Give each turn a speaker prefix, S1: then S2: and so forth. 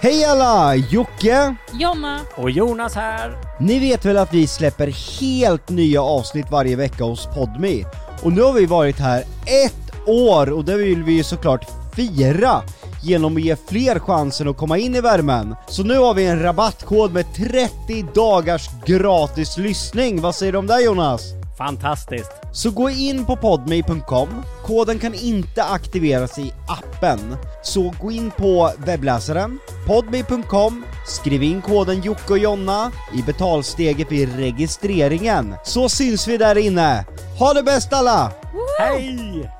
S1: Hej alla! Jocke!
S2: Jonna,
S3: Och Jonas här.
S1: Ni vet väl att vi släpper helt nya avsnitt varje vecka hos Podmi. Och nu har vi varit här ett år och det vill vi ju såklart fira genom att ge fler chansen att komma in i värmen. Så nu har vi en rabattkod med 30 dagars gratis lyssning. Vad säger du om det Jonas?
S3: Fantastiskt.
S1: Så gå in på podmi.com. Koden kan inte aktiveras i appen. Så gå in på webbläsaren, podmi.com, skriv in koden Jocke och Jonna i betalsteget vid registreringen. Så syns vi där inne. Ha det bäst alla!
S3: Hej!